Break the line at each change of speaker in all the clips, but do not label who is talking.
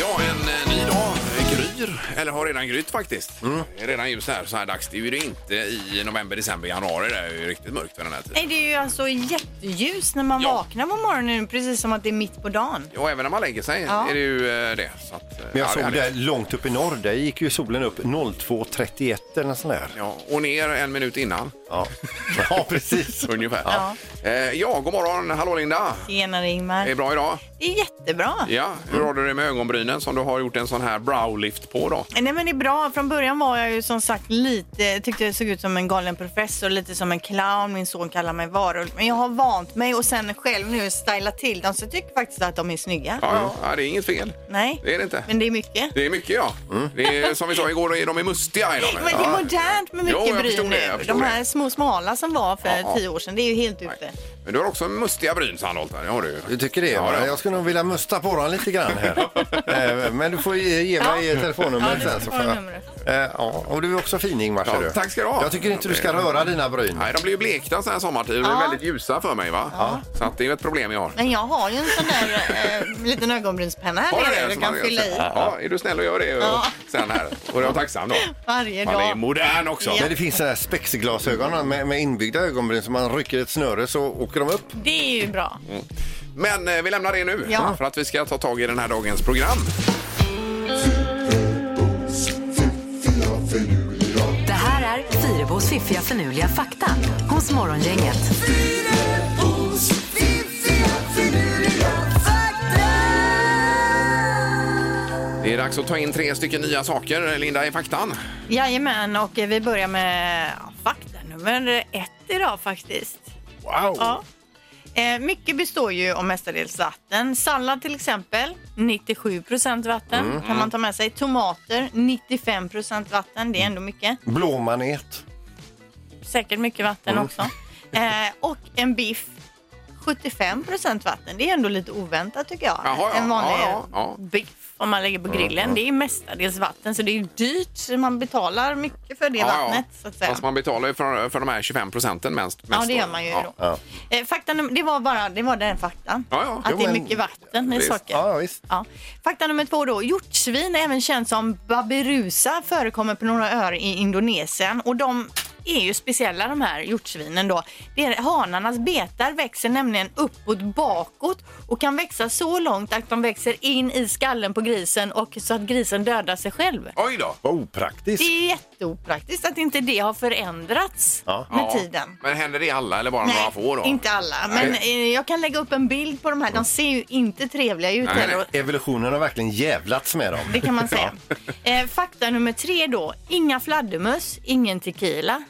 Ja, en eh, ny dag eh, gryr, eller har redan grytt faktiskt.
Mm.
Det är redan ljus här så här dags. Det är ju det inte i november, december, januari. Det är ju riktigt mörkt vid den här tiden.
Nej, det är ju alltså jätteljus när man
Ja.
vaknar på morgonen, precis som att det är mitt på dagen.
Ja, även när man lägger sig
Ja.
är det ju eh, det. Så att, eh, ja, det
Men jag
är
såg
härligt.
det långt upp i norr, där gick ju solen upp 02.31 eller nåt sånt där.
Ja, och ner en minut innan
Ja, ja precis.
ungefär. Ja,
Ja.
eh, ja god morgon. Hallå Linda.
Tjenare
Är det
Ingmar.
bra idag?
Det är jättebra.
Ja, hur har du det med ögonbrynen som du har gjort en sån här browlift på då?
Nej men det är bra. Från början var jag ju som sagt lite, tyckte jag såg ut som en galen professor, lite som en clown. Min son kallar mig varulv. Men jag har vant mig och sen själv nu stylat till dem så jag tycker faktiskt att de är snygga.
Ja, ja. ja, det är inget fel.
Nej,
Det är det inte.
men det är mycket.
Det är mycket ja.
Mm.
Det är, som vi sa igår, då är de är mustiga. Är de.
Men det är modernt med
Jo,
mycket
jag förstår
bryn
det, jag
nu.
förstår
De
det.
här små smala som var för
Ja, ja.
tio år sedan, det är ju helt ute.
Men du har också mustiga bryn Sandholt. här, Det har du ju.
Du tycker det?
Ja,
va?
ja.
Jag skulle nog vilja musta på den lite grann här. Eh, Men du får ge ge mig telefonnumret
Ja,
sen.
du
Så
får
får jag...
numret.
Eh, ja. Och du är också fin Ingmar. ser
Ja,
du.
tack ska du ha.
Jag tycker inte du ska röra dina bryn.
Nej, de blir ju blekta så här sommartid. De blir väldigt ljusa för mig. va? Så att det är ju ett problem jag har.
Men jag har ju en sån där eh, liten ögonbrynspenna här
Har
nere du
som
kan
man-
fylla i
Ja, är du snäll och gör det
Ja.
och sen här. Och jag är tacksam då.
varje
Man är
dag.
modern också.
Ja.
Men det finns sådana här spexglasögon med, med inbyggda ögonbryn som man rycker ett snöre så åker de upp.
Det är ju bra.
Men eh, vi lämnar det nu
Ja.
för att vi ska ta tag i den här dagens program.
Det här är Fyrebos fiffiga förnuliga fakta hos Morgongänget.
Det är dags att ta in tre stycken nya saker, eh, Linda, i faktan.
Jajamän, och eh, vi börjar med ja, fakta nummer ett idag faktiskt.
Wow!
Ja. Eh, mycket består ju av mestadels vatten. Sallad till exempel, 97 procent vatten
Mm.
kan man ta med sig. Tomater, 95 procent vatten. Det är ändå mycket.
Blåmanet.
Säkert mycket vatten också. Eh, och en biff, 75 procent vatten. Det är ändå lite oväntat tycker jag.
Jaha, ja.
en vanlig
Ja, ja, ja.
biff om man lägger på grillen. Det är mestadels vatten så det är ju dyrt. Man betalar mycket för det vattnet så att säga.
Fast man betalar ju för, för de här 25 procenten mest. mest
Ja, det
då.
gör man ju
Ja.
då. Eh, fakta num- det var bara det var den faktan.
Ja, ja.
Att
Jo,
det är
men-
mycket vatten i
Visst.
saker.
Ja, visst.
Ja. Fakta nummer två då. Hjortsvin, även känt som babirusa, förekommer på några öar i Indonesien. Och de är ju speciella de här hjortsvinen då. Det är, hanarnas betar växer nämligen uppåt bakåt och kan växa så långt att de växer in i skallen på grisen och så att grisen dödar sig själv.
Oj då!
Vad opraktiskt.
Det är jätteopraktiskt att inte det har förändrats
Ja.
med
Ja.
tiden.
Men händer det i alla eller bara några få då?
inte alla. Men eh, jag kan lägga upp en bild på de här. De ser ju inte trevliga ut
Nej,
heller.
nej.
Evolutionen har verkligen jävlats med dem.
Det kan man säga. Eh, fakta nummer tre då. Inga fladdermöss, ingen tequila.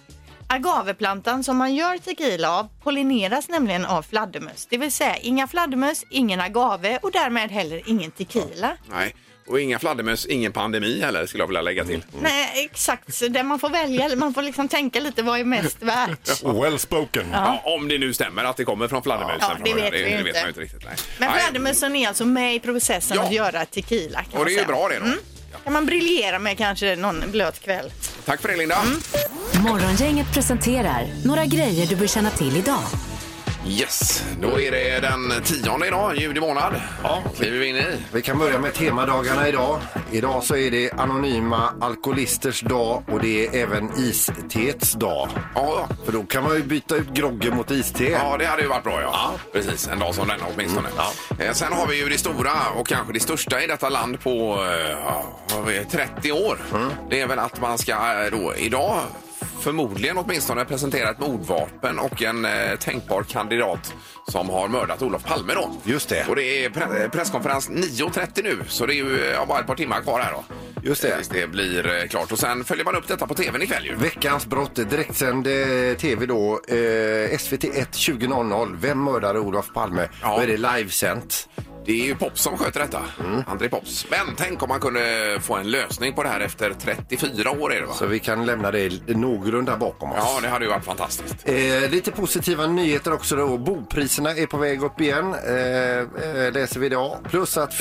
Agaveplantan som man gör tequila av pollineras nämligen av fladdermöss. Det vill säga inga fladdermöss, ingen agave och därmed heller ingen tequila.
Nej. Och inga fladdermöss, ingen pandemi heller skulle jag vilja lägga till.
Nej, exakt. Så där man får välja. eller Man får liksom tänka lite vad är mest värt.
Well spoken.
Ja. om det nu stämmer att det kommer från fladdermusen.
Ja,
från
det
början.
vet vi
det
ju
vet
inte.
man ju inte riktigt. Nej.
Men
Nej.
fladdermössen är alltså med i processen
Ja.
att göra tequila. Kan
Och
man
det är ju
säga. Mm.
bra det då.
kan man briljera med kanske någon blöt kväll.
Tack för det Linda.
Mm.
Morgongänget presenterar några grejer du bör känna till idag.
Yes, då är det den tionde idag, juli månad. Ja. kliver vi in i.
Vi kan börja med temadagarna idag. Idag så är det anonyma alkoholisters dag och det är även istets dag.
Ja, ja.
För då kan man ju byta ut groggen mot iste.
Ja, det hade ju varit bra. Ja. Precis, en dag som denna åtminstone.
Mm,
Eh, Sen har vi ju det stora och kanske det största i detta land på eh, ja, vad vet, 30 år.
Mm.
Det är väl att man ska eh, då idag förmodligen åtminstone presentera ett mordvapen och en eh, tänkbar kandidat som har mördat Olof Palme då.
Just det.
Och det är pre- eh, presskonferens 9.30 nu så det är ju eh, ja, bara ett par timmar kvar här då.
Just det.
Eh, Tills det blir eh, klart och sen följer man upp detta på tvn ikväll ju.
Veckans brott, direktsänd eh, tv då, eh, SVT 1 20.00. Vem mördade Olof Palme?
Ja.
Då är det livesänt.
Det är ju Pops som sköter detta.
Mm.
André Pops. Men tänk om man kunde få en lösning på det här efter 34 år är det va?
Så vi kan lämna det någorlunda bakom oss.
Ja, det hade ju varit fantastiskt.
Eh, lite positiva nyheter också då. Bopriserna är på väg upp igen, eh, eh, läser vi idag. Plus att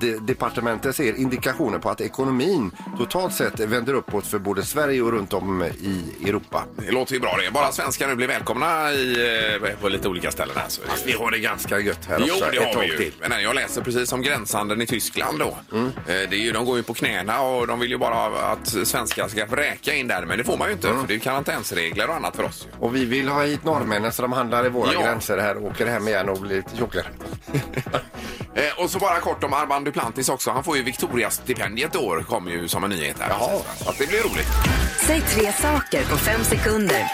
Finansdepartementet ser indikationer på att ekonomin totalt sett vänder uppåt för både Sverige och runt om i Europa.
Det låter ju bra det. Bara svenskar nu blir välkomna i, eh, på lite olika ställen här. Så
Vi har det ganska gött här
Jo,
också.
det
ett
har
tag
vi ju.
till. Mm.
Men nej, jag läser precis om gränshandeln i Tyskland då. Eh, Det är ju, de går ju på knäna och de vill ju bara att svenskar ska vräka in där. Men det får man ju
Mm.
inte för det är ju karantänsregler och annat för oss. ju.
Och vi vill ha hit norrmännen så de handlar i våra
Ja.
gränser här och åker hem igen och blir lite tjockare.
Eh, Och så bara kort om Armand Duplantis också. Han får ju Victoria-stipendiet i år, kom ju som en nyhet här.
Jaha.
Så att det blir roligt.
Säg tre saker på fem sekunder.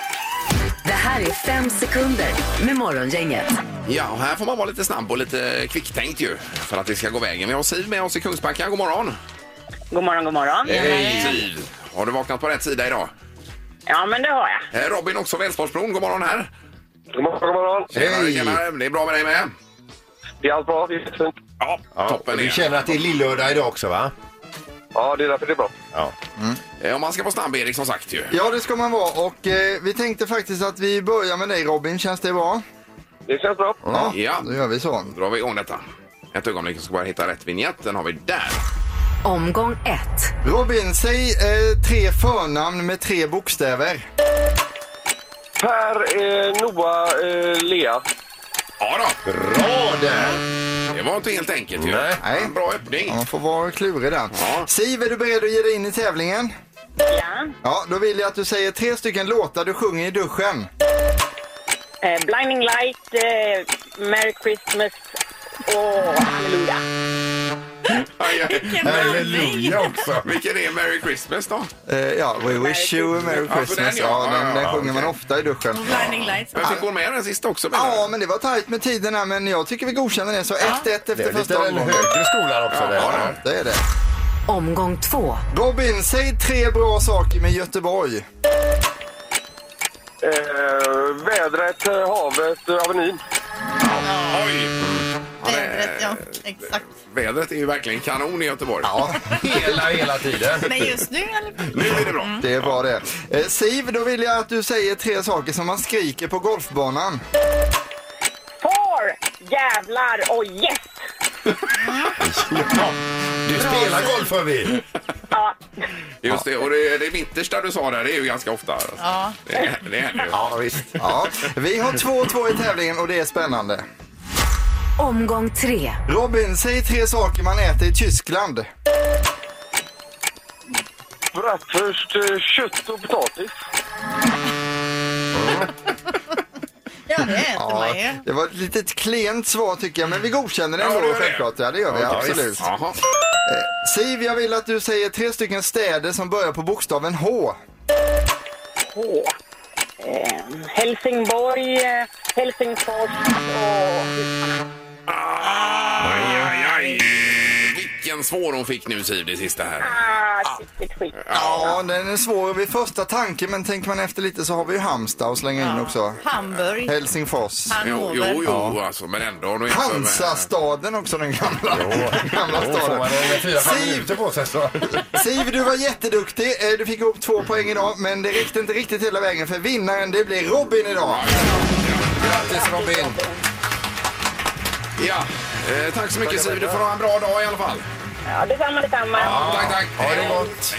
Det här är fem sekunder med Morgongänget.
Ja, och här får man vara lite snabb och lite kvicktänkt ju för att det ska gå vägen. Vi har Siv med oss i Kungsbacka. God morgon!
God morgon, god morgon.
Hej Siv! Har du vaknat på rätt sida idag?
Ja, men det har jag.
Eh, Robin också, Välsportsbron. God morgon här!
God morgon, god morgon.
Tjenare, tjenare. Det är bra med dig med?
Det är allt bra, det är fint.
Ja, toppen
Vi
är
känner att det är lillördag idag också va?
Ja, det är därför det är bra.
det. Eh, Om man ska vara snabb, Erik, som sagt ju.
Ja, det ska man vara. Och eh, vi tänkte faktiskt att vi börjar med dig Robin. Känns det bra?
Det känns bra.
Ja.
Ja.
Då gör vi så.
Då drar vi igång detta. Ett ögonblick, jag ska bara hitta rätt vignett. Den har vi där.
Omgång ett.
Robin, säg eh, tre förnamn med tre bokstäver.
Per, eh, Noah, eh, Lea.
Ja då,
Bra där!
det var inte helt enkelt ju.
Nej.
Nej.
En Bra öppning.
Ja, Man får vara klurig där.
Ja.
Siv, är du beredd att ge dig in i tävlingen?
Ja.
Ja, då vill jag att du säger tre stycken låtar du sjunger i duschen.
Eh, Blinding Light, eh, Merry Christmas och Halleluja.
Aj, aj.
Halleluja också!
Vilken är Merry Christmas då?
Eh, ja, We wish you a merry
Ja, för den,
Christmas.
ja.
Ja,
Ja, ja,
den, den
ja,
sjunger man
okej.
ofta i duschen.
Blinding lights.
Men fick hon med den sist också? menar
Ja,
du?
men det var tajt med tiden här, men jag tycker vi godkänner det. Så 1-1
Det
efter
är lite
första
den
omgången.
högre skolan också. där.
Ja, det är det.
Omgång två.
Robin, säg tre bra saker med Göteborg.
Eh, vädret, eh, havet, eh, Avenyn.
Oj!
Vädret,
eh,
ja. Exakt.
Vädret är ju verkligen kanon i Göteborg.
Ja,
Hela, hela tiden.
Men just nu eller?
Nu är det bra.
Mm.
det är bra det. Eh, Siv, då vill jag att du säger tre saker som man skriker på golfbanan.
Får, jävlar och yes!
Du spelar golf hör vi.
Ja,
Just det, och det, det mittersta du sa där, det är ju ganska ofta. Ja. Det, det händer ju.
Ja, visst.
Ja, vi har 2-2 i tävlingen och det är spännande.
Omgång tre.
Robin, säg tre saker man äter i Tyskland.
Bratwurst, eh, kött och potatis.
Ja, det äter man ju.
det var ett litet klent svar tycker jag, men vi godkänner det
Ja,
ändå
det gör det.
självklart. Ja, det gör vi
Ja,
absolut.
visst. Jaha.
Siv, jag vill att du säger tre stycken städer som börjar på bokstaven H.
H. Eh, Helsingborg, eh, Helsingfors och...
Aj, aj, aj. Vilken svår hon fick nu Siv, det sista här.
Ah, riktigt skit.
Ja, den är svår vid första tanken, men tänker man efter lite så har vi ju Halmstad att slänga in också.
Hamburg.
Helsingfors.
Jo,
Hannover.
jo, jo alltså, men ändå. om du jämför med-
Hansastaden också, den gamla, den gamla
Då får man
staden.
en fyra, fem
Siv!
minuter på sig. Så.
Siv, du var jätteduktig. Eh, Du fick ihop två poäng idag, men det räckte inte riktigt hela vägen för vinnaren, det blir Robin idag.
Grattis Robin!
Ja, eh, tack så mycket Siv. Du får ha en bra dag i alla fall.
Ja, detsamma, detsamma.
Tack, tack.
Ha det gott!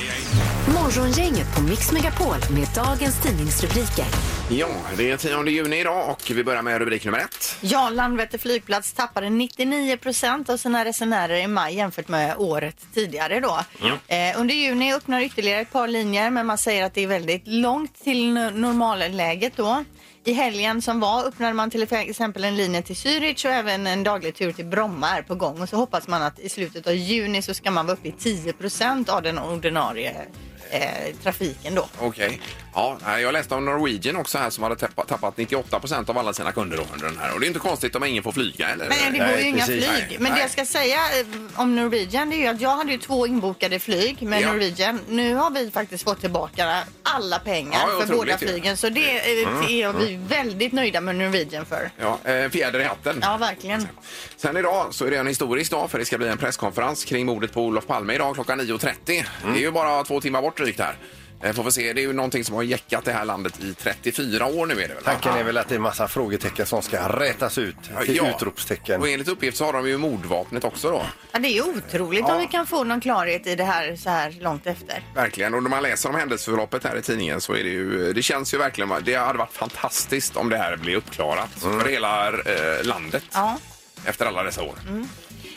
Morgongänget på Mix Megapol med dagens tidningsrubriker.
Ja, det är 10 juni idag och vi börjar med rubrik nummer ett.
Ja, Landvetter flygplats tappade 99 procent av sina resenärer i maj jämfört med året tidigare då. Eh, under juni öppnar ytterligare ett par linjer men man säger att det är väldigt långt till no- normalläget då. I helgen som var öppnade man till exempel en linje till Zürich och även en daglig tur till Bromma är på gång och så hoppas man att i slutet av juni så ska man vara uppe i 10 procent av den ordinarie eh, trafiken då.
Okej. Ja, nej, jag läste om Norwegian också här som hade tappat, tappat 98 av alla sina kunder då under den här. Och det är inte konstigt om ingen får flyga eller?
Nej, det
Nej,
går ju inga
precis.
flyg.
Nej,
men
nej.
det jag ska säga eh, om Norwegian det är ju att jag hade ju två inbokade flyg med
Ja.
Norwegian. Nu har vi faktiskt fått tillbaka alla pengar
Ja,
för
otroligt
båda
ju. Mm.
flygen. Så det eh, är vi väldigt nöjda med Norwegian för.
Ja, eh, fjäder i hatten.
Ja, verkligen.
Sen idag så är det en historisk dag för det ska bli en presskonferens kring mordet på Olof Palme idag klockan 9.30. Det är ju bara två timmar bort drygt här. Eh, Får vi se, det är ju någonting som har jäckat det här landet i 34 år nu är det väl? va?
Tanken är väl att det är massa frågetecken som ska rätas ut till utropstecken.
Och enligt uppgift så har de ju mordvapnet också då.
Ja, det är ju otroligt om vi kan få någon klarhet i det här så här långt efter.
Verkligen. Och när man läser om händelseförloppet här i tidningen så är det ju, det känns ju verkligen, det hade varit fantastiskt om det här blev uppklarat för hela eh, landet
Ja.
efter alla dessa år.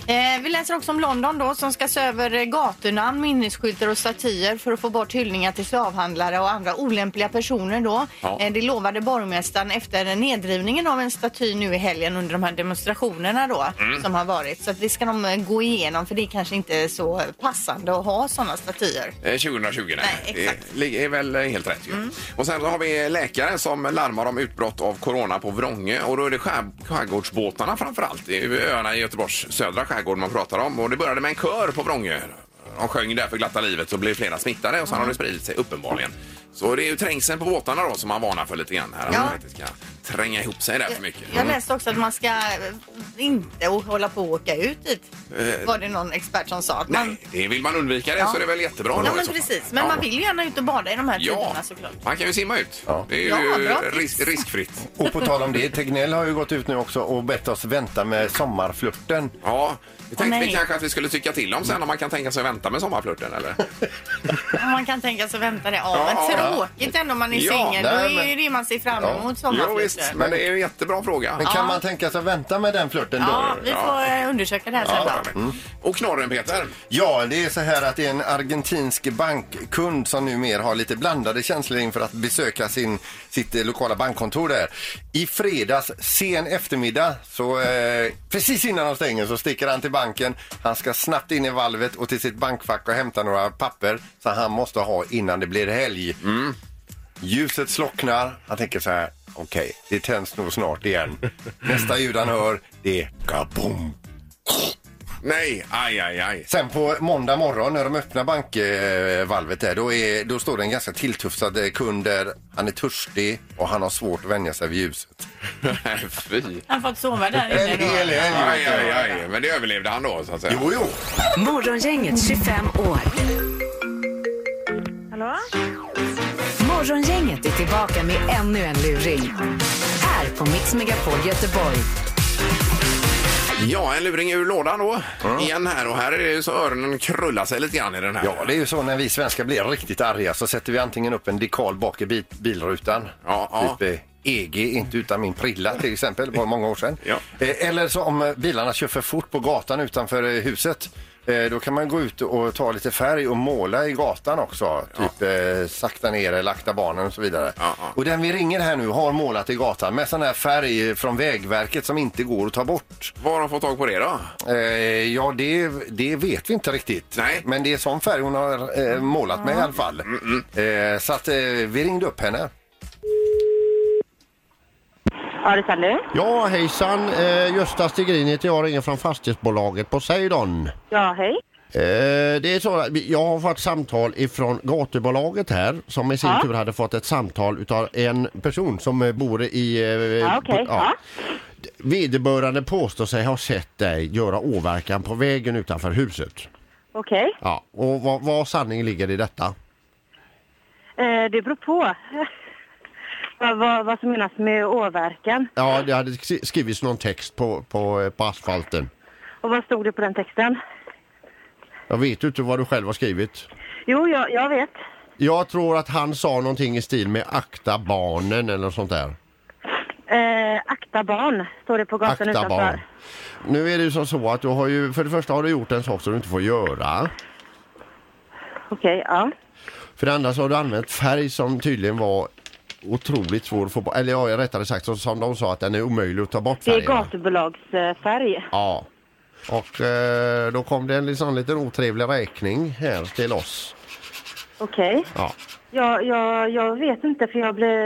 Eh, vi läser också om London då som ska se över eh, gatunamn, minnesskyltar och statyer för att få bort hyllningar till slavhandlare och andra olämpliga personer då.
Ja.
Eh, det lovade borgmästaren efter nedrivningen av en staty nu i helgen under de här demonstrationerna då
Mm.
som har varit. Så att det ska de eh, gå igenom för det är kanske inte är så passande att ha sådana statyer.
Eh, 2020, nej.
Nej, exakt. Mm.
Det är, är väl eh, helt rätt. Ju. Och Sen så har vi läkare som larmar om utbrott av corona på Vrångö. Och då är det skär, skärgårdsbåtarna framför allt. Det är ju öarna i Göteborgs södra skärgård man pratar om. Och Det började med en kör på Vrångö. De sjöng där för glatta livet så blev flera smittade och sen har det spridit sig uppenbarligen. Så det är ju trängseln på båtarna då som man varnar för lite grann här. Att
Ja.
man inte ska tränga ihop sig där för mycket.
Jag läste också att man ska eh, inte o- hålla på att åka ut dit. Var det någon expert som sa. Att
Eh.
man...
Mm. Nej, det vill man undvika det
Ja.
så är det väl jättebra då
Ja
i
men
så fall.
precis, men
Ja.
man vill ju gärna ut och bada i de här
Ja,
tiderna såklart.
man kan ju simma ut. Det är ju
Ja, bra tips.
ris- riskfritt.
Och på tal om det, Tegnell har ju gått ut nu också och bett oss vänta med sommarflörten.
Ja, vi
Åh,
tänkte
nej.
vi kanske att vi skulle tycka till om sen om man kan tänka sig vänta med sommarflörten eller?
Om man kan tänka sig vänta det av.
Ja, ja.
men tråkigt ändå om man är
Ja,
singel. Då
nej,
är ju
men-
det man ser fram emot
jo, visst,
sommarflirten.
men det är en jättebra fråga.
Men kan man tänka sig vänta med den flörten då?
Ja, vi
Ja.
får eh, undersöka det här sen
Ja,
då.
mm. Och knorren Peter.
Ja, det är så här att det är en argentinsk bankkund som numera har lite blandade känslor inför att besöka sin, sitt eh, lokala bankkontor där. I fredags, sen eftermiddag, så eh, precis innan de stänger så sticker han till banken. Han ska snabbt in i valvet och till sitt bankfack och hämta några papper som han måste ha innan det blir helg. Ljuset slocknar. Han tänker så här, okej, det tänds nog snart igen. Nästa ljud han hör, det är kaboom.
Nej, aj, aj, aj.
Sen på måndag morgon när de öppnar bankvalvet där, då, är, då står det en ganska tilltufsad eh, kund där. Han är törstig och han har svårt att vänja sig vid ljuset.
Nej, Fy.
Han har fått sova där inne.
En
då.
hel
Aj, aj,
helg!
aj. Men det överlevde han då så att säga.
Jo, jo!
Morgongänget 25 år.
Hallå?
Morgongänget är tillbaka med ännu en luring. Här på Mix Megapol Göteborg.
Ja, en luring ur lådan då. Igen här och här är det ju så öronen krullar sig lite grann i den här.
Ja, det är ju så när vi svenskar blir riktigt arga så sätter vi antingen upp en dekal bak i bi- bilrutan.
Ja, ja.
Typ eh, EG, inte utan min prilla till exempel, det var många år sedan.
Ja.
Eh, Eller så om eh, bilarna kör för fort på gatan utanför eh, huset. eh, Då kan man gå ut och ta lite färg och måla i gatan också. Typ eh, sakta ner eller akta barnen och så vidare.
Ja, ja.
Och den vi ringer här nu har målat i gatan med sån här färg från Vägverket som inte går att ta bort.
Var har de fått tag på det då?
Eh, ja, det, det vet vi inte riktigt.
Nej.
Men det är sån färg hon har eh, målat med i alla fall. Eh, så att eh, vi ringde upp henne.
Alexander?
Ja, hejsan. Eh, Gösta Stigrin heter jag och ringer från fastighetsbolaget Poseidon.
Ja, hej.
Eh, det är så att vi- jag har fått samtal ifrån gatubolaget här som i sin
Ja.
tur hade fått ett samtal utav en person som eh, bor i... Eh,
Ja, okej.
på-
Ja.
Vederbörande påstår sig ha sett dig göra åverkan på vägen utanför huset.
Okej.
Ja, och vad, vad sanning ligger i detta?
Eh, det beror på vad, vad, vad som menas med åverkan.
Ja, det hade skri- skrivits någon text på, på, eh, på asfalten.
Och vad stod det på den texten?
Jag vet ju inte vad du själv har skrivit.
Jo, jag, jag vet.
Jag tror att han sa någonting i stil med akta barnen eller något sånt där.
Eh, akta barn, står det på gatan
Akta
utanför.
barn. Nu är det ju som så att du har ju, för det första har du gjort en sak som du inte får göra.
Okej, ja.
För det andra så har du använt färg som tydligen var otroligt svår att få bort, eller ja, rättare sagt så, som de sa att den är omöjlig att ta bort
Det är
färgen.
gatubolagsfärg.
Ja. Och eh, då kom det en liksom, liten otrevlig räkning här till oss.
Okej.
Ja.
Jag, jag, jag vet inte, för jag blev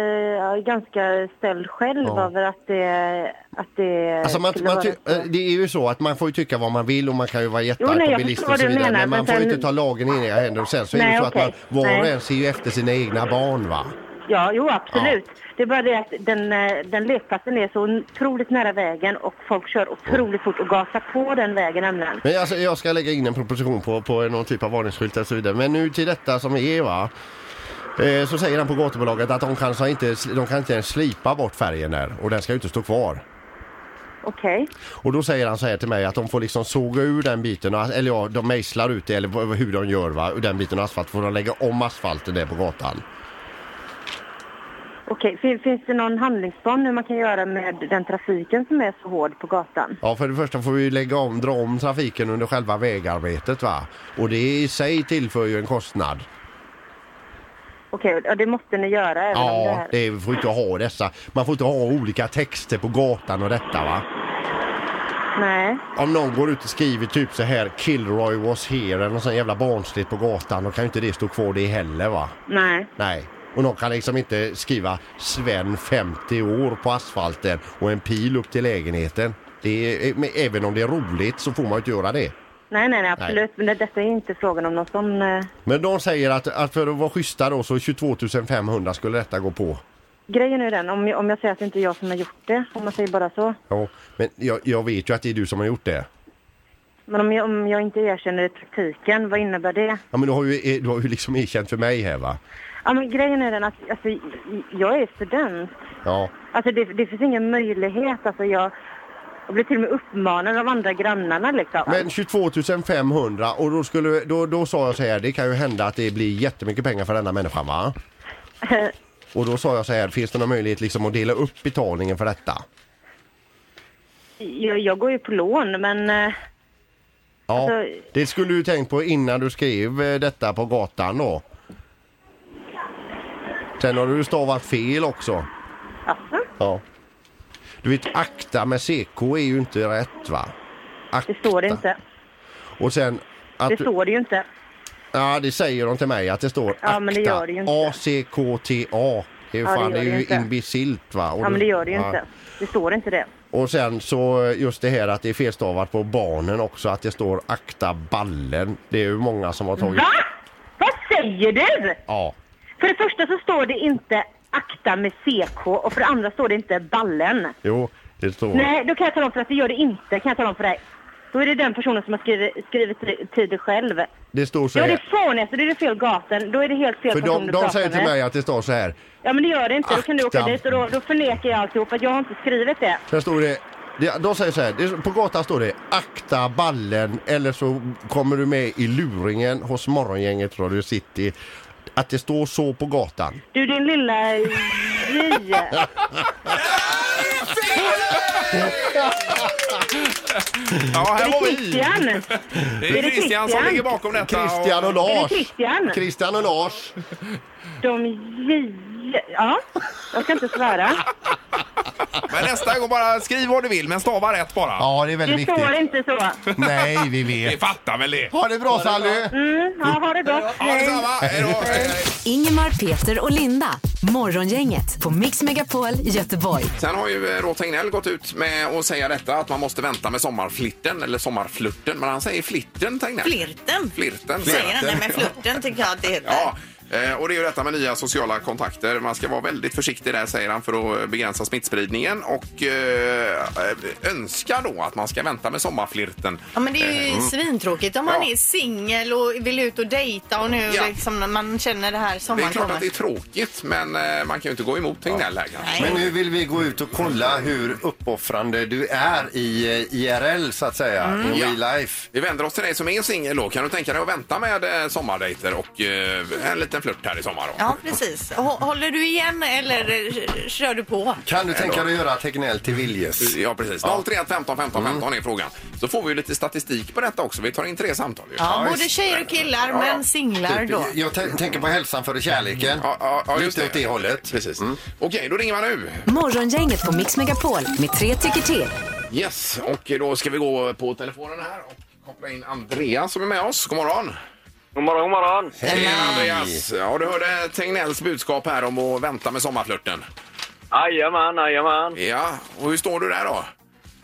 eh, ganska ställd själv
Ja.
över att det, att det
Alltså man,
skulle
man
vara
ty-
så.
eh, det är ju så att man får ju tycka vad man vill och man kan ju vara
Jo, nej,
jättearg på
jag
bilister
förstår
och så
vad du
vidare.
menar,
men man
men
får ju
sen-
inte ta lagen i egna händer. Och sen så är det
Nej,
ju så att
okej.
man, var och
Nej.
en ser ju efter sina egna barn va.
Ja, jo absolut. Det är bara det att den, eh, den lekplatsen är så otroligt nära vägen och folk kör otroligt fort och gasar på den vägen nämligen.
Men alltså, jag ska lägga in en proposition på, på någon typ av varningsskylt och så vidare. Men nu till detta som är va. Eh, Så säger han på gatubolaget att de kan, så inte, de kan inte ens slipa bort färgen där och den ska ju inte stå kvar.
Okej.
Och då säger han så här till mig att de får liksom såga ur den biten, och- eller ja, de mejslar ut det eller vad- hur de gör va, ur den biten av asfalt får de lägga om asfalten där på gatan.
Okej, fin, finns det någon handlingsplan nu man kan göra med den trafiken som är så hård på gatan?
Ja, för det första får vi ju lägga om, dra om trafiken under själva vägarbetet va. Och det i sig tillför ju en kostnad.
Okej, och det måste ni göra även om det
Ja,
här...
det vi får inte ha dessa. Man får inte ha olika texter på gatan och detta va.
Nej.
Om någon går ut och skriver typ så här Kilroy was here eller något sånt jävla barnsligt på gatan då kan ju inte det stå kvar det heller va.
Nej.
Nej. Och någon kan liksom inte skriva Sven 50 år på asfalten och en pil upp till lägenheten. Det är, eh, men även om det är roligt så får man ju inte göra det.
Nej, nej, nej, absolut. Men det, detta är inte frågan om någon sån... Eh,
Men de säger att, att för att vara schyssta då så 22 500 skulle detta gå på.
grejen är den, om, jag- om jag säger att det inte är jag som har gjort det, om man säger bara så.
Ja, men jag, jag vet ju att det är du som har gjort det.
Men om jag, om jag inte erkänner det i praktiken, vad innebär det?
Ja men du har ju, du har ju liksom erkänt för mig här va?
Ja, men grejen är den att alltså, jag är student.
Ja.
Alltså det, det finns ingen möjlighet. Alltså jag, jag blir till och med uppmanad av andra grannarna liksom.
Men 22 500 och då, skulle, då, då sa jag så här, det kan ju hända att det blir jättemycket pengar för denna människan va? Och då sa jag så här, finns det någon möjlighet liksom att dela upp betalningen för detta?
jag, jag går ju på lån, men... eh,
Ja,
Alltså-
det skulle du tänkt på innan du skrev eh, detta på gatan då. Sen har du stavat fel också.
Alltså,
Ja. Du vet, akta med CK är ju inte rätt va? Akta.
det står det inte.
Och sen att
Det
du-
står det ju inte.
Ja, det säger de till mig att det står
Ja, men det
akta.
gör det ju inte.
ACKTA. Det är, ju
Ja, det
fan, det
gör
är
det
ju
inte.
imbecillt va? Och
Ja, men det gör det ju
ja.
inte. Det står inte det.
Och sen så just det här att det är felstavat på barnen också, att det står akta ballen. Det är ju många som har tagit...
Va? Vad säger du?
Ja.
För det första så står det inte akta med CK och för det andra står det inte ballen.
Jo, det står...
Nej, då kan jag tala om för att det gör det inte. Kan jag tala om för dig. Då är det den personen som har skrivit, skrivit till dig själv.
Det står så
Ja, det
här.
är fånigt och det är fel gatan. Då är det helt fel
För
person
de,
du
de
pratar
säger till
med.
mig att det står så här.
Ja, men det gör det inte. Då kan du åka
Akta.
dit och då, då förnekar jag alltihop att jag har inte skrivit det.
Sen står det... det- De säger så här, det- på gatan står det akta ballen eller så kommer du med i luringen hos morgongänget Radio City. Att det står så på gatan.
Du, din lilla J.
Ja, här
Är
var
det
vi.
Christian?
Det
Är
är
det
Christian som
Christian?
ligger bakom detta.
Christian och
Är det
Lars.
Christian?
Christian och Lars.
De J... Ja, jag ska inte svära.
Men nästa gång bara skriv vad du vill, men stava rätt bara.
Ja, det är väldigt
Det
viktigt.
står inte så.
Nej, vi
Vi
vet.
fattar väl det.
Ha det bra, Sally!
Mm, ja, ha det gott.
Ja, detsamma. Hej då. Hej, hej.
Ingemar, Peter och Linda. Morgongänget på Mix Megapol Göteborg.
Sen har ju eh, då Tegnell gått ut med att säga detta att man måste vänta med sommarflitten eller sommarflirten. Men han säger flitten Tegnell.
Flirten.
Flirten.
Säger han. Nej, men flirten tycker jag att det heter.
Ja, eh, och det är ju detta med nya sociala kontakter. Man ska vara väldigt försiktig där säger han för att begränsa smittspridningen och eh, önska då att man ska vänta med sommarflirten.
Ja, men det är ju svintråkigt om man
Mm. Ja.
är singel och vill ut och dejta och nu
Ja.
liksom när man känner det här
Det är
sommaren
klart
kommer.
att det är tråkigt men eh, man kan ju inte gå emot Tegnell här kanske.
Nej.
Men nu vill vi gå ut och kolla hur uppoffrande du är i eh, IRL så att säga,
Mm.
in
Ja.
real life.
Vi vänder oss till dig som är singel då. Kan du tänka dig att vänta med eh, sommardejter och eh, en liten flört här i sommar då?
Ja, precis. Hå- Håller du igen eller eh, kör du på?
Kan du tänka dig att göra Tegnell till Viljes?
Ja, precis. 031 15 15 15 är frågan. Så får vi ju lite statistik på detta också. Vi tar in tre samtal. ju.
Ja, både
visst.
tjejer och killar,
Ja, Typ. ja.
men singlar då.
Jag, jag tän- tänker på hälsan före kärleken.
Ja, ja, ja, just
Lite åt det hållet.
Precis. Okej, då ringer man nu.
Morgongänget på Mix Megapol med tre tycker till.
Yes, och då ska vi gå på telefonen här och koppla in Andreas som är med oss. God morgon!
God morgon, god morgon.
Hej Andreas! Ja, du hörde Tegnells budskap här om att vänta med sommarflörten.
Jajamän, jajamän.
Ja, och hur står du där då?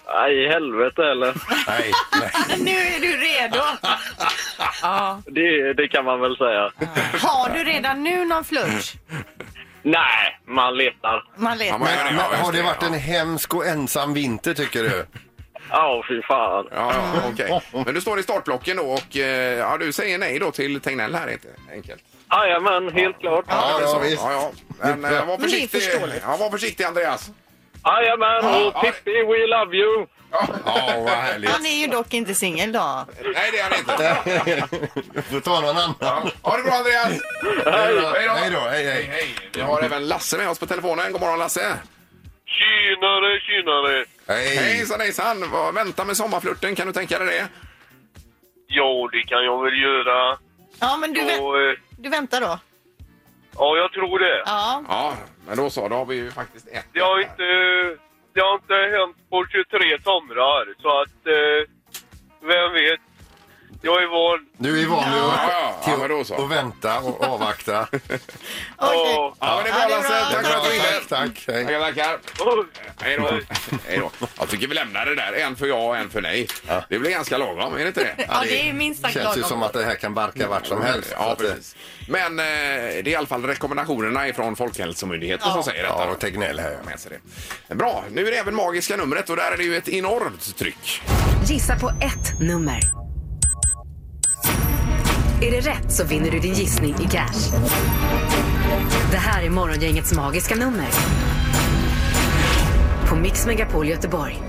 Nej, i helvete eller.
Nej,
Nu är du redo. Ja.
Det, det kan man väl säga.
Har du redan nu någon flört?
Nej, man letar.
Man letar.
Ja, men-
Men,
ja,
men,
just
har det
det,
varit
ja.
en hemsk och ensam vinter tycker du?
Ja, fy fan.
Ja, ja okej. Men du står i startblocken då och eh, ja, du säger nej då till Tegnell här helt enkelt.
Jajamän, helt klart.
Ja,
det är
ja,
så.
visst.
Ja, ja. Men eh, var
det är
försiktig.
förståeligt.
Ja, var försiktig Andreas.
Jajamän,
Ja.
och Pippi, we love you.
Ja, vad härligt.
Han är ju dock inte singel då.
Nej, det är han inte.
Du får ta någon annan.
Ha det bra Andreas!
Hej.
Hej då, hej hej.
Hej. Vi har även Lasse med oss på telefonen. God morgon Lasse!
Tjenare, tjenare.
Hej.
Hejsan hejsan! Vad- Vänta med sommarflirten, kan du tänka dig det?
Ja, det kan jag väl göra.
Ja, men du, vä-
Och, eh,
du väntar då?
ja, jag tror det.
Ja.
Ja, men då så, då har vi ju faktiskt ett.
Det har inte, eh, det har inte hänt på 23 somrar, så att eh, vem vet. Jag är van.
Du är van vid
Ja, ja, ja, men då
att-
så.
att vänta och avakta.
Okej.
Och,
Ja, men det är bra
Ja, det är bra.
Lasse! Tack för att du ringde!
Tack, tack. Hej.
Tackar, tackar!
och,
Hej då. Hej då. Jag tycker vi lämnar det där. En för ja och en för nej. Det blir ganska lagom, är det inte det?
Ja, det är minst sagt
Känns ju som
lagom.
att det här kan barka vart som helst. Så
Ja,
att,
precis. Men eh, det är i alla fall rekommendationerna ifrån Folkhälsomyndigheten
Ja.
som säger detta.
Ja,
då.
och Tegnell här.
Med sig det. Bra, nu är det även magiska numret och där är det ju ett enormt tryck.
Gissa på ett nummer. Är det rätt så vinner du din gissning i cash. Det här är Morgongängets magiska nummer. På Mix Megapol Göteborg.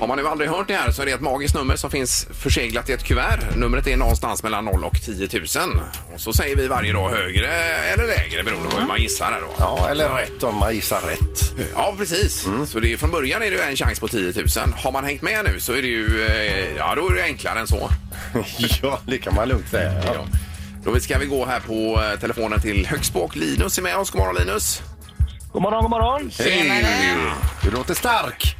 Har man nu aldrig hört det här så är det ett magiskt nummer som finns förseglat i ett kuvert. Numret är någonstans mellan 0 och 10 000. Och så säger vi varje dag högre eller lägre beroende på hur man gissar. Här då.
Ja, Mm. eller rätt om man gissar rätt.
Ja, precis. Så det är, från början är det ju en chans på 10 000. Har man hängt med nu så är det ju, eh, ja då är det enklare än så.
Ja, det kan man lugnt säga. Ja.
Ja. Då ska vi gå här på eh, telefonen till Högsbåk. Linus är med oss. God morgon Linus!
God morgon, god morgon.
Hej!
Du låter stark.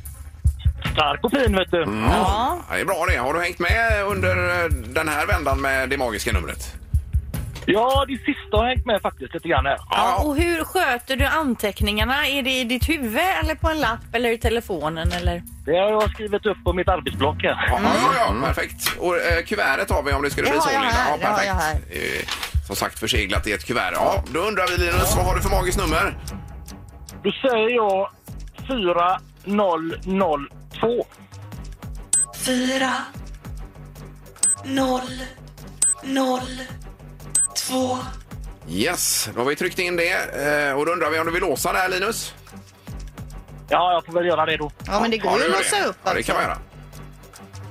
Stark och fin, vet du.
Ja.
Ja, det är bra det. Har du hängt med under eh, den här vändan med det magiska numret?
Ja, det sista har hängt med faktiskt lite grann här.
Ja, och hur sköter du anteckningarna? Är det i ditt huvud eller på en lapp eller i telefonen eller?
Det har jag skrivit upp på mitt arbetsblock här.
Ja, ja, ja, perfekt. Och eh, kuvertet har vi om det skulle
Mm. Det
bli
har
så.
jag
Linda.
här, det har jag
perfekt. Eh, Som sagt förseglat i ett kuvert. Ja, då undrar vi Linus, vad har du för magiskt nummer?
Då säger jag 4002.
Yes, då har vi tryckt in det. Eh, Och då undrar vi om du vill låsa det här Linus?
Ja, jag får väl göra det då.
Ja, men det går ju
du
att
gör
låsa
det.
upp alltså.
Ja, det kan man göra.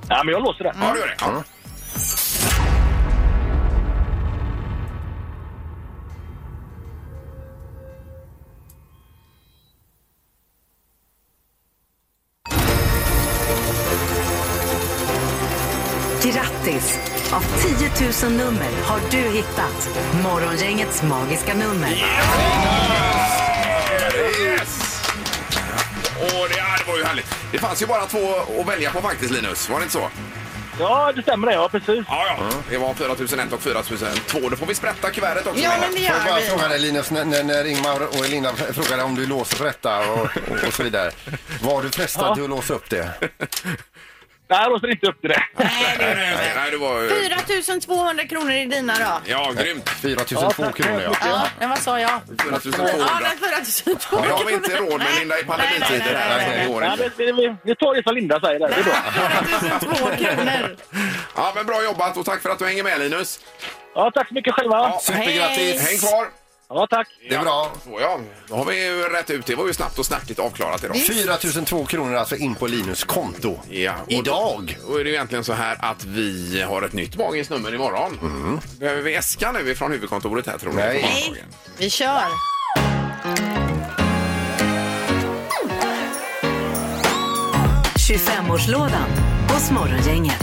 Ja, men jag låser det.
Mm.
Ja, du gör det. Ja.
Grattis! Av 10 000 nummer har du hittat Morgongängets magiska nummer.
Yes! Åh, det, ja, det var ju härligt. Det fanns ju bara två att välja på faktiskt, Linus. Var det inte så?
Ja, det stämmer det. Ja, precis.
Ja, ja. Det var 4001 och 4002. Då får vi sprätta kuvertet också.
Ja,
menar
men det
Får jag
gör
bara
vi.
fråga dig Linus, när, när, när Ingmar och Elina frågade om du låser för detta och, och, och så vidare. Var du frestad till att låsa upp det?
Nej, jag låser inte upp till det.
Nej, det
jag. Nej, nej, nej, det var ju...
4 200 kronor i dina då.
Ja, grymt.
4002 kronor ja.
Ja, men vad sa jag?
4200.
Ja, den 4 200
Det har vi inte råd med, Linda, i pandemitider.
Nej, nej, nej, nej,
Nej, det går
Nej,
inte.
men vi, vi, vi tar det som Linda säger. Där. Det är bra.
4200 kronor.
Ja, men bra jobbat och tack för att du hänger med, Linus.
Ja, tack så mycket själva.
Supergrattis!
Häng kvar!
Ja, tack.
Det är bra.
Så, ja. Då har vi ju rätt ut. Det var ju snabbt och snärtigt avklarat idag.
4002 kronor alltså in på Linus konto.
Ja, och-
Idag!
Och är det ju egentligen så här att vi har ett nytt magiskt nummer imorgon. Behöver vi äska nu ifrån huvudkontoret här tror ni?
Mm. Nej.
Nej, vi kör.
Ja. 25-årslådan hos Morgongänget.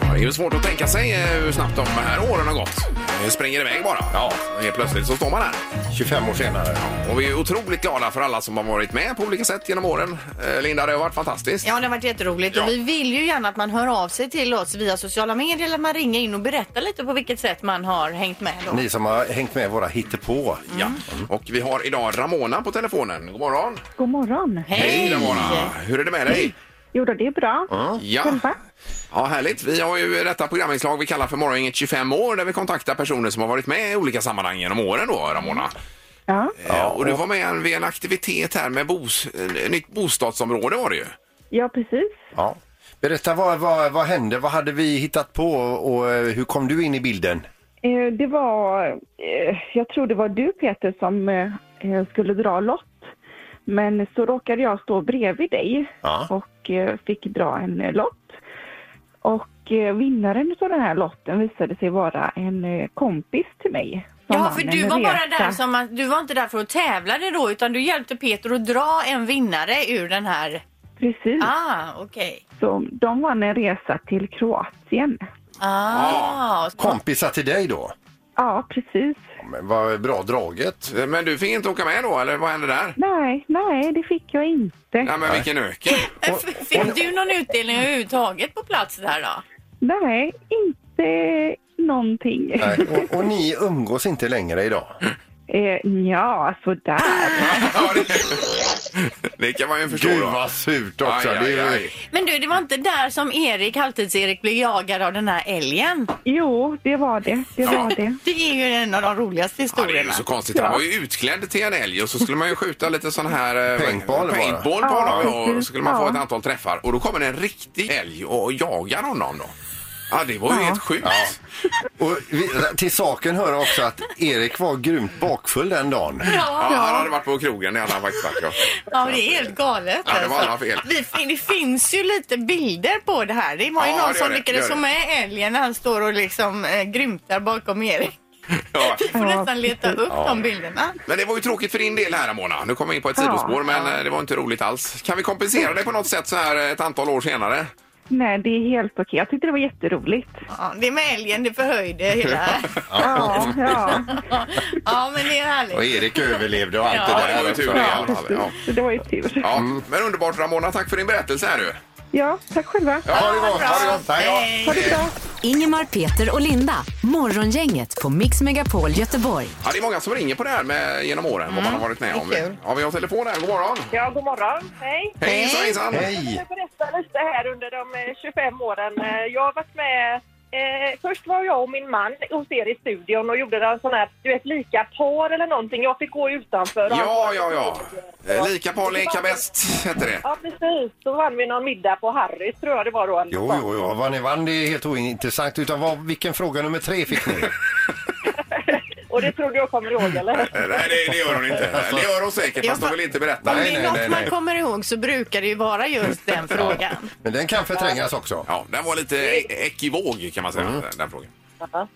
Ja, Det är ju svårt att tänka sig eh, hur snabbt de här åren har gått. eh, springer iväg bara. Ja. Helt plötsligt så står man här.
25 år senare.
Och vi är otroligt glada för alla som har varit med på olika sätt genom åren. Eh, Linda, det har varit fantastiskt.
Ja, det har varit jätteroligt.
Ja.
Och vi vill ju gärna att man hör av sig till oss via sociala medier eller man ringer in och berättar lite på vilket sätt man har hängt med. Då.
Ni som har hängt med våra hittepå.
Ja. Och vi har idag Ramona på telefonen. God morgon!
God morgon.
Hej Ramona! Hur är det med dig?
Jo då, det är bra.
Ja.
Själva?
ja, härligt. Vi har ju detta programinslag vi kallar för Morgongänget 25 år där vi kontaktar personer som har varit med i olika sammanhang genom åren då, Ramona.
Mm.
Ja.
Ja, och du var med en- vid en aktivitet här med bos, eh, nytt bostadsområde var det ju.
ja, precis.
Ja. Berätta, vad, vad, vad hände? Vad hade vi hittat på och eh, hur kom du in i bilden?
Eh, Det var, eh, jag tror det var du Peter som eh, eh, skulle dra lott. Men så råkade jag stå bredvid dig
Ja.
och eh, fick dra en eh, lott. Och eh, vinnaren av den här lotten visade sig vara en eh, kompis till mig. som
Ja,
vann
för
en
du var bara
resa.
där som att, du var inte där för att tävla det då utan du hjälpte Peter att dra en vinnare ur den här.
Precis,
Ah, okej.
så de vann en resa till Kroatien.
Ah,
Kompisar till dig då?
Ja, precis.
Ja, Men vad bra draget.
Eh, Men du fick inte åka med då, eller vad hände där?
Nej, nej, det fick jag inte.
Nej, men vilken öken.
F- Fick du någon utdelning överhuvudtaget på plats där då?
Nej, inte någonting.
Nej, och, och ni umgås inte längre idag?
Eh, ja, sådär.
Ja, det, det kan man ju förstå.
Gud
då.
vad surt
Aj,
också.
aj,
Det är ju-
aj.
Men du, det var inte där som Erik, halvtids-Erik, blev jagad av den här älgen?
Jo, det var det. Det var det.
Det är ju en av de roligaste
Ja, det är ju
historierna.
så konstigt. Han var ju utklädd till en älg och så skulle man ju skjuta lite sån här eh,
Paintball bara.
paintball på
Ja,
honom och så
precis.
skulle man få
Ja.
ett antal träffar och då kommer det en riktig älg och jagar honom då. Ja, det var ju helt sjukt.
Och vi, till saken hör också att Erik var grymt bakfull den dagen.
Ja, Han hade varit på krogen i alla vaktbackar.
Ja, men det är helt galet.
Ja, det var alla
alltså.
fel.
Vi, fin- det finns ju lite bilder på det här. Det var ju
Ja,
någon
det
som
gör det,
lyckades
det gör
få
det.
med älgen när han står och liksom eh, grymtar bakom Erik.
Ja.
Vi får nästan leta upp de bilderna.
Men det var ju tråkigt för din del här Mona. Nu kommer vi in på ett sidospår men eh, det var inte roligt alls. Kan vi kompensera dig på något sätt så här eh, ett antal år senare?
Nej, det är helt okej. Jag tyckte det var jätteroligt.
Ja, det med älgen, det förhöjde hela...
Ja, ja.
Ja, men det är
Och
härligt.
Erik överlevde och allt
Ja,
det var ju
också.
tur det.
ja
Ja,
precis.
ja.
Så det var ju tur.
Ja, men underbart Ramona. Tack för din berättelse här du.
Ja, tack själva.
Ha det gott, ha det gott. Hej då.
Ha det bra.
Ingemar, Peter och Linda. Morgongänget på Mix Megapol Göteborg.
Ja, Mm, det är många som ringer på det här med, genom åren, vad man har varit med om.
det är kul.
Ja, vi har telefon här. God morgon!
Ja, god morgon. Hej.
Hej, hejsan, hejsan!
Hej!
Jag berättar lite här under de eh, 25 åren. Eh, Jag har varit med... Eh, först var jag och min man hos er i studion och gjorde en sån här, du vet, lika par eller någonting. Jag fick gå utanför. och-
Ja, ja, ja. Eh, Lika par leka bäst, hette det.
Ja, precis. Då vann vi någon middag på Harrys, tror jag det var då. eller
Jo,
något
jo, jo. Vad ni vann det är helt ointressant. Utan vad, vilken fråga nummer tre fick ni?
sånt. Och det tror du jag kommer ihåg, eller?
Eh, Nej, det, det gör hon inte. Det gör hon säkert, fast hon vill inte berätta.
Om det
Nej,
är
nej,
något
nej, nej.
man kommer ihåg så brukar det ju vara just den frågan.
Men den kan förträngas också.
Ja, den var lite e- ekivåg kan man säga, den, den frågan. Ja.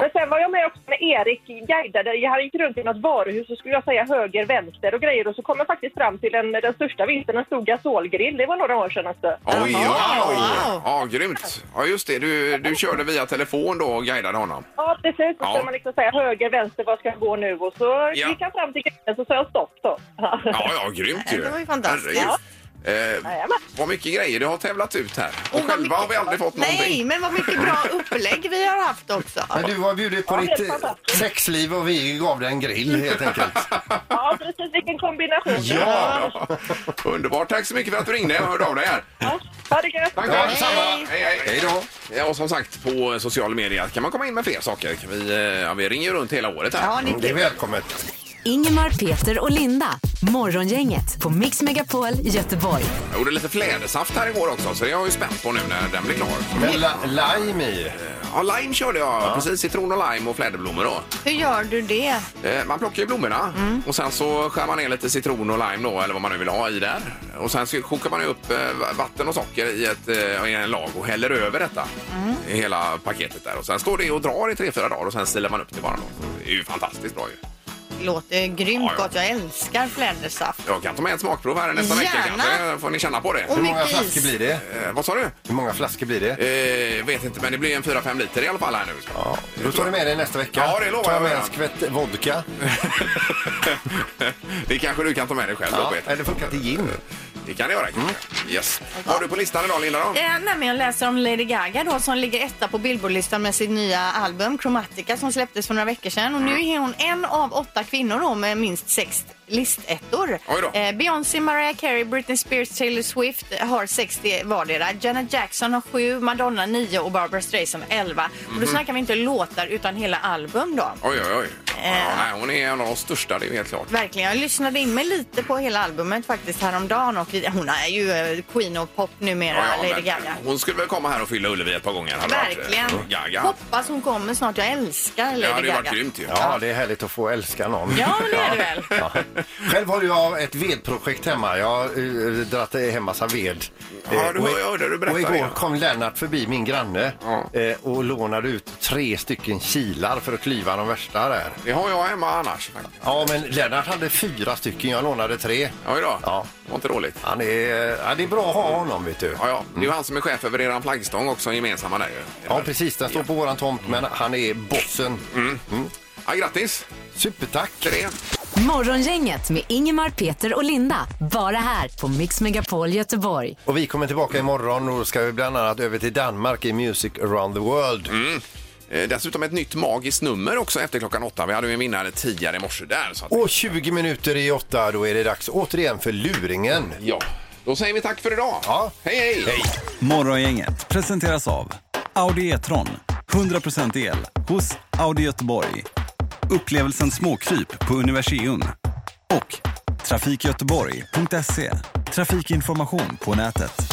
Men sen var jag med också när Erik guidade. Jag gick runt i något varuhus och skulle jag säga höger, vänster och grejer. Och så kom jag faktiskt fram till en, den största vinsten, en stor gasolgrill. Det var några år sedan. Alltså.
Oj, oj, oj!
Wow.
Ja, grymt. Ja, just det. Du, du körde via telefon då och guidade honom.
Ja, precis. Så
Ja.
ska man liksom säga höger, vänster, var ska jag gå nu? Och så
Ja.
gick han fram till gränsen och sa jag stopp då. Ja.
Ja, ja, grymt ju.
Det var ju fantastiskt.
Herregud. Eh,
Jajamän.
vad mycket grejer du har tävlat ut här. Och
Och vad
själva har vi aldrig fått
Nej,
någonting.
men vad mycket bra upplägg vi har haft också.
Men du har bjudit på
Ja,
ditt
helt
eh,
fantastiskt.
sexliv och vi gav dig en grill helt enkelt.
ja, precis. Vilken kombination.
Ja, underbart. Tack så mycket för att du ringde och hörde av dig här.
Ja. Ha det gött.
Tack,
Ja,
tack.
detsamma.
Hej, hej.
Hej då.
Ja, och som sagt, på sociala medier kan man komma in med fler saker. Kan Vi, eh, ja, vi ringer ju runt hela året här.
Ja, ni
Det är välkommet.
Ingemar, Peter och Linda. Morgongänget på Mix Megapol Göteborg.
Jag gjorde lite flädersaft här igår också, så det är jag ju spänt på nu när den blir klar.
Men la, lime i.
Ja, lime körde jag. Precis, citron och lime och fläderblommor då.
Hur gör du det?
Eh, Man plockar ju blommorna
Mm.
och sen så skär man ner lite citron och lime då, eller vad man nu vill ha i där. Och sen så kokar man ju upp eh, vatten och socker i, ett, eh, i en lag och häller över detta.
Mm.
i Hela paketet där. Och sen står det och drar i tre, fyra dagar och sen ställer man upp det bara då. Det är ju fantastiskt bra ju.
låter grymt gott. Jag älskar flädersaft.
Jag kan ta med ett smakprov här nästa vecka
Gärna.
kanske. får ni känna på det.
Och Hur många mycket flaskor is. blir
det? Eh, vad sa du?
Hur många flaskor blir
det? Eh, vet inte, men det blir en 4-5 liter i alla fall här nu. Ja,
Då tar du med dig nästa vecka.
Ja, det lovar
Ta
jag.
med en skvätt vodka.
det kanske du kan ta med dig själv,
Ja,
Robert.
eller funkar till gin.
Det kan det göra kanske.
Mm.
Yes. Vad har du på listan idag, Linda? Då?
Eh, nej, men jag läser om Lady Gaga då, som ligger etta på Billboardlistan med sitt nya album Chromatica som släpptes för några veckor sedan. Och nu är hon en av åtta kvinnor då, med minst sex listettor.
Oj då.
Eh, Beyoncé, Mariah Carey, Britney Spears, Taylor Swift har 60 vardera. Janet Jackson har sju, Madonna nio och Barbara Streisand 11. Och då
Mhm.
snackar vi inte låtar utan hela album då.
Oj, oj, oj. Ja,
Eh.
nej, hon är en av de största, det är helt klart.
Verkligen. Jag lyssnade in mig lite på hela albumet faktiskt häromdagen. Och vi, hon är ju eh, queen of pop numera,
Ja, ja,
Lady
men
Gaga.
Hon skulle väl komma här och fylla Ullevi ett par gånger. hade varit, eh,
Verkligen.
Gaga.
Hoppas hon kommer snart. Jag älskar Lady
Ja, det hade ju
Gaga.
varit grymt ju.
Ja, det är härligt att få älska någon.
Ja, men det är det väl.
Ja. Själv har jag ett vedprojekt hemma. Jag har eh, dratt hem massa ved. Eh,
Ja, du
och,
hör- jag hörde du berätta
och
det,
igår
ja.
kom Lennart förbi, min granne, eh, och lånade ut tre stycken kilar för att klyva de värsta där.
Det har jag hemma annars.
Ja, men Lennart hade fyra stycken. Jag lånade tre.
Oj då.
Ja.
Det var inte dåligt.
Han är, eh, ja, det är bra att ha honom, vet du.
Ja, ja. Det är ju han som är chef över eran flaggstång också, gemensamma där ju.
Mm. Ja, precis. Den står på våran tomt, men han är bossen. Mm.
Ja, grattis!
Supertack!
Morgongänget med Ingemar, Peter och Linda. Bara här på Mix Megapol Göteborg.
Och vi kommer tillbaka imorgon och då ska vi bland annat över till Danmark i Music around the world.
Eh, Dessutom ett nytt magiskt nummer också efter klockan åtta. Vi hade ju en vinnare tidigare i morse där. Så att...
Och 20 minuter i åtta, då är det dags återigen för luringen.
Ja, då säger vi tack för idag. Ja. Hej, hej!
Morgongänget presenteras av Audi E-tron. 100% el hos Audi Göteborg. Upplevelsen småkryp på Universium. Och trafikgöteborg.se. Trafikinformation på nätet.